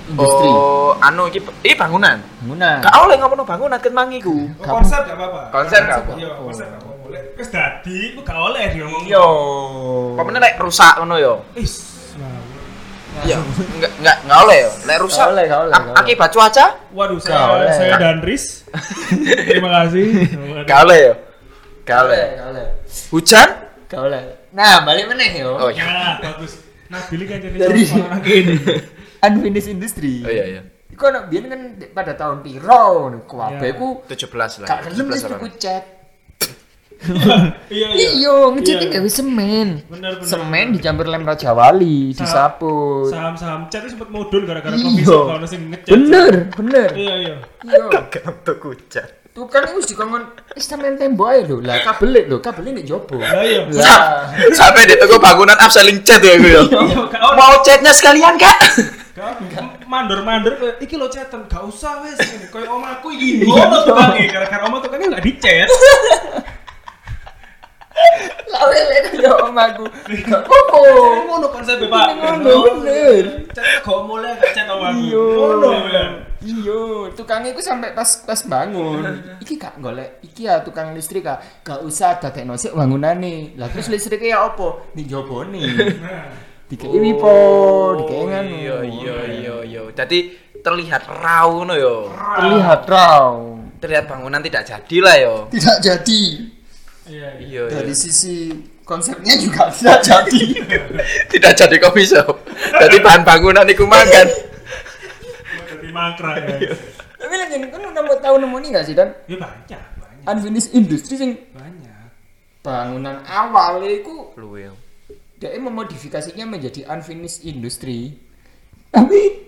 S1: industri.
S3: Oh, anu iki iki bangunan.
S1: Bangunan.
S3: Gak oleh ngomong bangunan ketmangi ku.
S5: konsep gak apa-apa
S3: Konsep gak apa-apa.
S5: iya konsep gak apa-apa Lek,
S4: Wis dadi, kok gak oleh diomong.
S3: Yo. Pemene lek rusak ngono ya? yo.
S4: Is. wow.
S3: Iya. Enggak enggak enggak oleh yo. Lek rusak.
S1: oleh, gak oleh,
S3: ak-
S1: gak oleh.
S3: Akibat cuaca?
S4: Waduh,
S1: Gak
S4: saya,
S1: oleh.
S4: saya dan Riz. Terima kasih.
S3: Gak oleh yo. Gak oleh.
S1: Gak oleh.
S3: Hujan?
S1: Gak oleh. Nah, balik meneh yo.
S3: Oh iya.
S4: Nah, bagus. Nah, Billy kan jadi
S1: Dari-
S4: orang ini.
S1: Unfinished industry.
S3: Oh iya iya.
S1: Iku ono biyen kan di- pada tahun piro ngono kuwabe
S4: Iya.
S1: iku
S3: 17 lah.
S1: gak gelem wis
S3: 17 orang.
S1: tuku cat.
S4: Iya, iya.
S1: Iya, ngecete
S4: Iya.
S1: gawe semen.
S4: Bener, bener,
S1: Semen
S4: bener.
S1: dicampur lem Raja Wali,
S4: Sa-
S1: disabut.
S4: Saham-saham chat itu sempat modul gara-gara kopi
S1: Iya.
S4: shop kalau sing ngecat.
S1: Bener, bener.
S4: Iya, iya.
S1: Iya.
S3: Gak tuku hujan.
S1: Tukang itu dikongkon wis sampean tembok ae lho. Lah kabel lho, kabel nek jopo.
S4: Lah iya.
S1: Lah,
S3: Sampai di toko bangunan upselling chat ya gue yo.
S4: Iya, gak oleh.
S3: Mau chatnya sekalian kak?
S4: Gak- Mandor-mandor kayak, iki lo chatan, gak usah wes. Kayak om aku iki
S1: Iya.
S4: ngono tuh Bang. Gara-gara om tukangnya gak dicet.
S1: lah lele yo omahku. Gak apa-apa.
S4: Ngono konsepnya, Pak.
S1: Ngono, Iya, bener.
S4: Chat kok mulai gak chat om aku.
S1: Iya.
S4: Ngono,
S3: ya?
S4: bener.
S1: Iya, tukangnya itu sampai pas pas bangun. Iki gak golek, iki ya tukang listrik ah. Gak usah dadekno sik bangunane. Lah terus listriknya ya opo? Di jobone. Dikei wipo, dikei nganu.
S3: Nah. Iya iya iya iya. Jadi terlihat raw ngono yo.
S1: Terlihat raw.
S3: Terlihat bangunan tidak jadi lah yo.
S1: Tidak jadi.
S4: Iya, iya.
S3: Iya iya.
S1: Dari sisi konsepnya juga tidak jadi.
S3: tidak jadi kopi shop jadi bahan bangunan iku makan
S4: Jadi mangkrak ya.
S1: Iya. Tapi lagi ini kan udah mau tahu nemu ini gak sih dan
S4: Ya banyak, banyak,
S1: unfinished industry sing
S4: banyak.
S1: bangunan awal itu
S3: luwe
S1: dia memodifikasinya menjadi unfinished industry tapi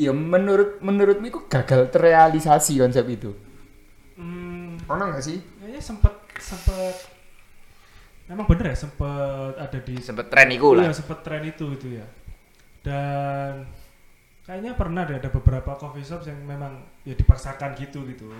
S1: ya menurut menurutmu itu gagal terrealisasi konsep itu
S4: Hmm,
S1: ono nggak sih
S4: kayaknya sempet sempet memang bener ya sempet ada di
S3: sempet tren iku
S4: iya,
S3: lah
S4: sempet tren itu itu ya dan kayaknya pernah deh ada beberapa coffee shop yang memang ya dipaksakan gitu gitu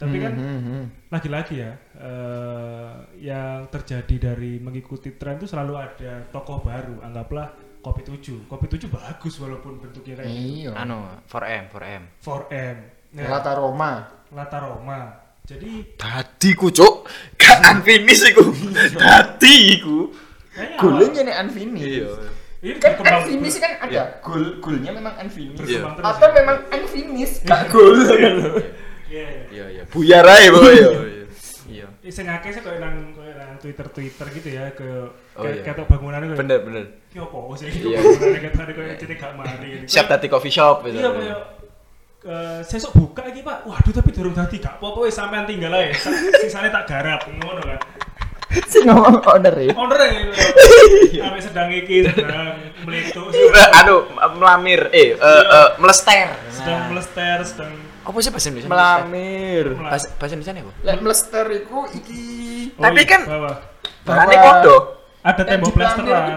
S4: tapi kan
S1: Hmm,
S4: lagi-lagi ya eh, yang terjadi dari mengikuti tren itu selalu ada tokoh baru anggaplah kopi 7 kopi 7 bagus walaupun bentuknya kayak
S1: iya
S4: gitu.
S3: anu 4M 4M
S4: 4M nah,
S1: Lata Roma
S4: Lata Roma jadi
S3: tadi ku cuk gak unfinish iku tadi iku
S4: kayaknya awal-
S1: goalnya ini unfinished
S3: iya
S4: ini
S1: kan
S4: berkembang-
S1: unfinished kan ada goal goalnya memang unfinished
S3: Iya.
S4: berkembang terus
S1: atau
S4: ya.
S1: memang unfinished gak goal
S4: Iya, iya.
S3: iya iya buyar ae pokoknya, iya iya
S4: Eh, sing akeh sih koyo nang koyo nang Twitter-Twitter gitu ya ke
S3: Oh,
S4: ke-
S3: iya.
S4: ketok bangunane koyo
S3: bener bener
S4: "Ki opo sih
S3: Iya.
S4: bangunane ketokane koyo jadi gak mati. gitu.
S3: siap tadi coffee shop gitu
S4: Iya koyo eh, sesuk buka iki Pak. Waduh tapi durung dadi gak apa-apa wis sampean tinggal ae. Sa- Sisane tak garap ngono kan.
S1: sih ngomong owner ya
S4: Owner ya.
S3: Iya.
S4: Sampai sedang iki sedang meletup
S3: Eh, anu melamir eh eh,
S4: Iya.
S3: eh, melester
S4: sedang melester sedang
S3: apa sih bahasa Indonesia
S1: melamir
S4: melar.
S3: bahasa bahasa Indonesia apa
S1: lek melester iku iki
S4: Oh,
S3: tapi
S4: iya,
S3: kan-
S4: bawah.
S3: bahannya
S1: Bahwa-
S3: kodo
S4: ada
S1: Lek Eh, di pelamir
S4: tembok kan. plesteran.
S1: itu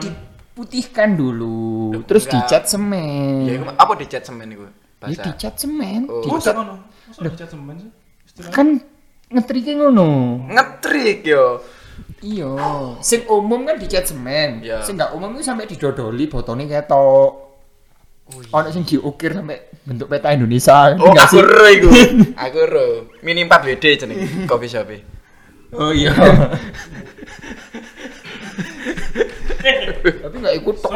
S1: diputihkan dulu terus
S3: enggak.
S1: dicat semen
S3: ya iku apa dicat semen iku
S1: Ya
S3: bahasa
S1: dicat semen.
S3: Oh.
S4: Mosok
S1: Dicat.
S4: ngono. Mosok dicat semen sih. Istilah-
S1: Kan ngetrike ngono.
S3: ngetrik yo
S1: Iya. Sing umum kan dicat semen.
S3: Iya.
S1: Sing gak umum itu sampai didodoli botone ketok. Ono sing diukir sampai bentuk peta Indonesia.
S3: Oh,
S1: Enggak
S3: aku
S1: sih?
S3: ro iku. Aku ro. Mini 4 BD jeneng coffee shop e.
S1: Oh iya.
S4: Eh,
S1: Tapi gak ikut tok.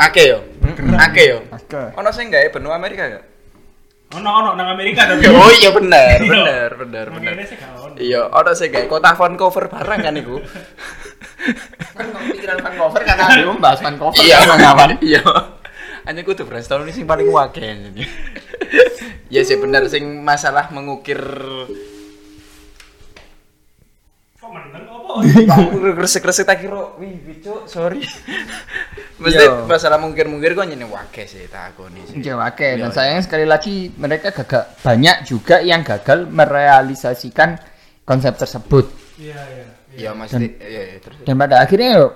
S3: Ake yo. Ake yo.
S1: Oke.
S3: Ono sing gawe benua Amerika gak?
S4: Ono ono nang Amerika tapi.
S3: Oh iya bener,
S4: Iya.
S3: bener, bener,
S4: Nang
S3: bener.
S4: Indonesia gak ono.
S3: Iya, ono sing gawe kotak font cover barang kan iku.
S1: Kan gak pikiran fan cover karena ada yang membahas fan cover.
S3: Iya,
S1: kan, kawan.
S3: Iya. Hanya kudu brainstorm ini sing paling wakil Ya sih bener sing masalah mengukir
S4: Kok meneng opo?
S3: resik-resik tak kira. Wih, bicuk, sorry. Mesti
S1: Iya.
S3: masalah mengukir-mengukir kok nyene wakil sih tak akoni sih. Iya.
S1: Oke, dan sayangnya sekali lagi mereka gagal banyak juga yang gagal merealisasikan konsep tersebut.
S4: Iya iya.
S3: Iya, mesti iya, iya terus.
S1: dan pada akhirnya yo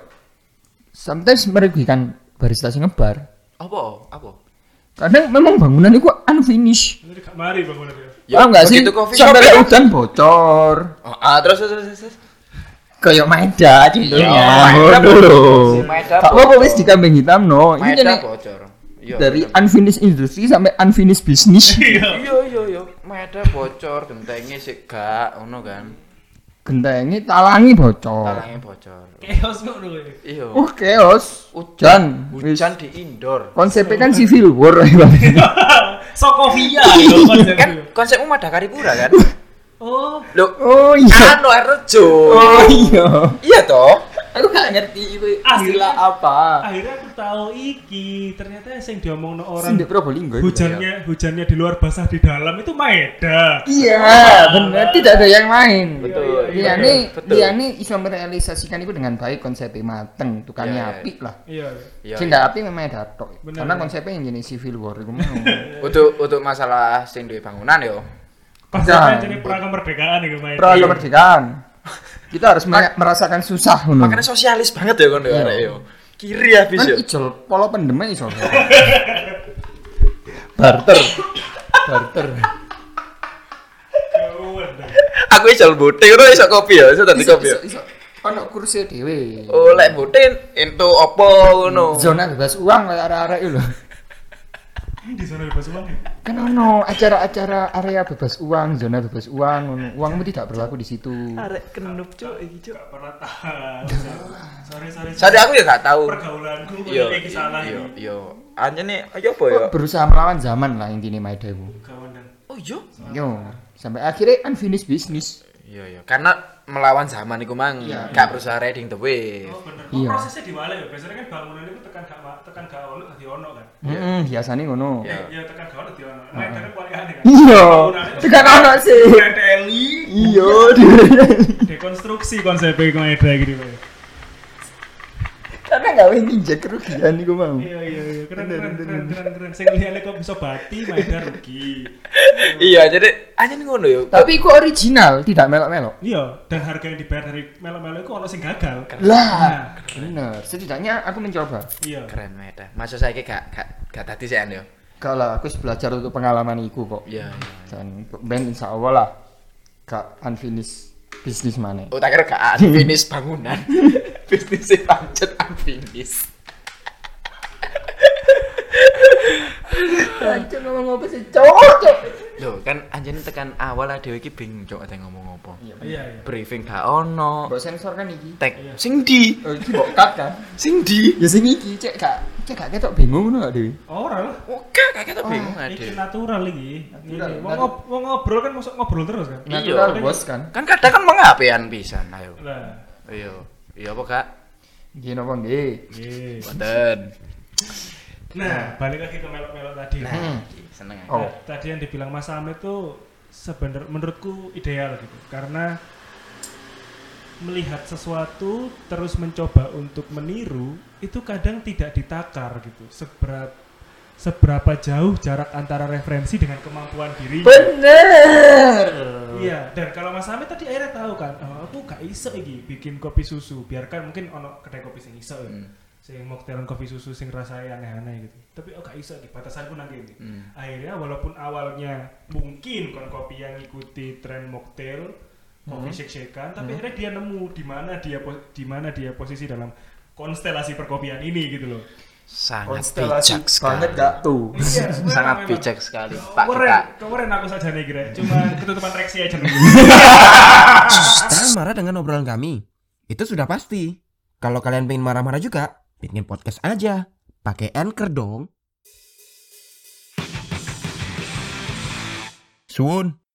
S1: sometimes merugikan barista sing ngebar.
S3: Apa? Apa?
S1: Kadang memang bangunan itu unfinished.
S4: Ini gak mari bangunan ya.
S1: Paham nggak
S3: Iya,
S1: sih?
S3: begitu coffee shop
S1: Sampai
S3: ya.
S1: lek udan bocor.
S3: Oh, ah, terus terus terus. terus.
S1: Kayak maeda cindulnya.
S3: Ya, maeda
S1: Ngono lho.
S3: Maeda
S1: Gak apa-apa wis dikambe hitam no. Ini
S3: Maeda
S1: jadi
S3: bocor. Iya.
S1: dari
S3: bener.
S1: unfinished industry sampai unfinished bisnis.
S3: Iya iya iya. Maeda bocor, gentengnya sik gak ngono kan.
S1: Gentengnya talangi bocor.
S3: Talangnya bocor.
S5: Chaos kok dulu ya.
S3: Iya.
S1: Oh chaos. Hujan. Wis.
S3: Hujan di indoor.
S1: Konsepnya kan civil war.
S5: Sokovia itu
S4: Iya,
S5: konsepnya.
S3: Kan konsepmu Madagakaripura kan?
S5: Oh,
S3: Loh,
S1: oh
S3: kan
S1: iya.
S3: no Erjo.
S1: Oh iya.
S3: Iya toh?
S1: Aku gak ngerti itu
S5: Aslinya-
S1: istilah apa.
S4: Akhirnya aku tahu iki, ternyata sing diomongno orang
S1: Sing di Probolinggo. itu.
S4: hujannya hujannya di luar basah di dalam itu maeda.
S1: Iya, benar. Tidak ada yang lain.
S3: Betul.
S1: Dia
S3: Betul,
S1: nih,
S3: betul.
S1: dia nih bisa merealisasikan itu dengan baik konsepnya mateng,
S3: Iya,
S1: tukangnya
S3: iya.
S1: api lah.
S4: Iya.
S3: Iya.
S1: Sing gak api memang ada tok.
S4: Bener,
S1: Karena
S4: bener.
S1: konsepnya yang jenis civil war itu mau.
S3: Untuk untuk masalah sing duwe bangunan yo.
S1: Hmm.
S4: Pas
S1: Jangan.
S4: jadi perang kemerdekaan itu
S3: Iya.
S4: maeda.
S1: Pro kemerdekaan. Kita harus me- merasakan susah ngono.
S3: Makanya ya? sosialis banget ya kon yo arek yo. Kiri habis
S1: Iya. Kan
S3: yo.
S1: ijol polo pendemnya iso. Barter. Barter.
S4: Jauhan.
S3: Aku iso bote ngono iso kopi ya, iso tadi
S1: Iso,
S3: kopi. ya.
S1: iso, iso. Ono kursi dhewe.
S3: Oh, lek bote entuk apa ngono.
S1: Zona bebas uang kayak arek-arek itu loh.
S4: Ini di sana bebas uang. ya?
S1: kan ono acara-acara area bebas uang zona bebas uang ono. uangmu tidak berlaku di situ
S3: Arek kenup cuk iki cuk.
S4: Gak pernah tahu. Sorry sorry.
S3: Sadar aku ya gak tahu.
S4: Pergaulanku
S3: Yo
S4: kayak iki salah
S3: yo
S4: ini.
S3: yo. Anjene ayo apa yo?
S1: berusaha melawan zaman lah intinya Maeda itu
S4: Kawan dan
S3: Oh yo.
S1: yo sampai akhirnya kan unfinished business
S3: Iya iya, karena melawan zaman iku mang
S1: Iya.
S3: gak berusaha riding the wave.
S4: Oh bener.
S1: Iya.
S4: Kok prosesnya diwale ya? Biasanya kan bangunan itu tekan gak ma- tekan gak ono tadi ono kan.
S1: Mm-mm, biasanya ngono
S3: Iya.
S4: Iya tekan gak ono tadi ono. Maeda kan kuali aneh kan.
S1: iya tekan ono sih
S4: Dipreteli.
S1: iya
S4: Dekonstruksi konsep iki Maeda gitu.
S1: karena nggak ingin injek kerugian nih gue mau
S4: Iya iya iya keren
S1: Bener,
S4: keren
S1: bener,
S4: keren keren keren. Saya ngeliatnya kok bisa bati Maeda rugi.
S3: Iya, jadi anjene ngono yo.
S1: tapi itu original tidak melok-melok
S4: Iya, dan harga yang dibayar dari melo-melo itu ono sing gagal. Nah,
S1: lah bener setidaknya aku mencoba
S4: Iya.
S3: keren meta. Maksud saya iki gak gak gak tadi saya yo.
S1: kalau aku belajar untuk pengalaman itu kok
S3: Iya. iya.
S1: dan ben insya Allah lah gak unfinished bisnis mana
S3: Oh, tak kira gak finish bangunan. Bisnis sing pancet finish.
S1: Cuk ngomong apa sih cowok cuk
S3: Loh, kan anjene tekan awal lah dhewe iki bingung cok ate ngomong apa.
S4: Iya iya.
S3: Briefing gak ono.
S1: Mbok sensor kan iki
S3: Tek sing di,
S1: Oh iki mbok cut kan
S3: sing di.
S1: Ya sing iki cek gak cek gak ketok bingung ngono gak Dewi
S4: Ora lah.
S3: Oh, gak gak ketok bingung
S4: Iki
S3: ade.
S4: natural iki.
S1: Natural,
S4: Ini, Wong ngob- wong ngobrol kan masuk ngobrol terus kan.
S3: Iya.
S1: Natural bos kan
S3: Kan kadang kan mengapean pisan ayo.
S4: Lah.
S3: Iya. Iya apa kak?
S1: Nggih napa nggih
S4: Yes.
S3: Wonten.
S4: Nah, balik lagi ke melok-melok tadi.
S1: Hmm.
S3: Nah, seneng. aku.
S1: Oh
S4: Tadi yang dibilang Mas Amit itu sebenar menurutku ideal gitu. Karena melihat sesuatu terus mencoba untuk meniru itu kadang tidak ditakar gitu. Seberat seberapa jauh jarak antara referensi dengan kemampuan diri.
S1: Bener
S4: Iya, dan kalau Mas Amit tadi akhirnya tahu kan, oh, aku gak iso iki bikin kopi susu, biarkan mungkin ono kedai kopi sing iso ya.
S3: Hmm.
S4: Sing mocktail kopi susu sing rasanya aneh-aneh gitu. Tapi oh gak iso iki, batasanku nang kene.
S3: Hmm.
S4: Akhirnya walaupun awalnya mungkin kon kopi yang ngikuti tren mocktail, kopi shake-shakean, tapi akhirnya dia nemu di mana dia po- di mana dia posisi dalam konstelasi perkopian ini gitu loh.
S3: Sangat
S1: Konstelasi
S3: bijak sekali.
S1: banget gak tuh
S4: Iya,
S3: Sangat
S4: memang-
S3: bijak sekali, Pak kita.
S4: Keren, keren aku saja nih kira. Cuma ketutupan reaksi aja. nih.
S2: Kalian marah dengan obrolan kami? Itu sudah pasti. Kalau kalian pengen marah-marah juga, bikin podcast aja. Pakai Anchor dong. Suun.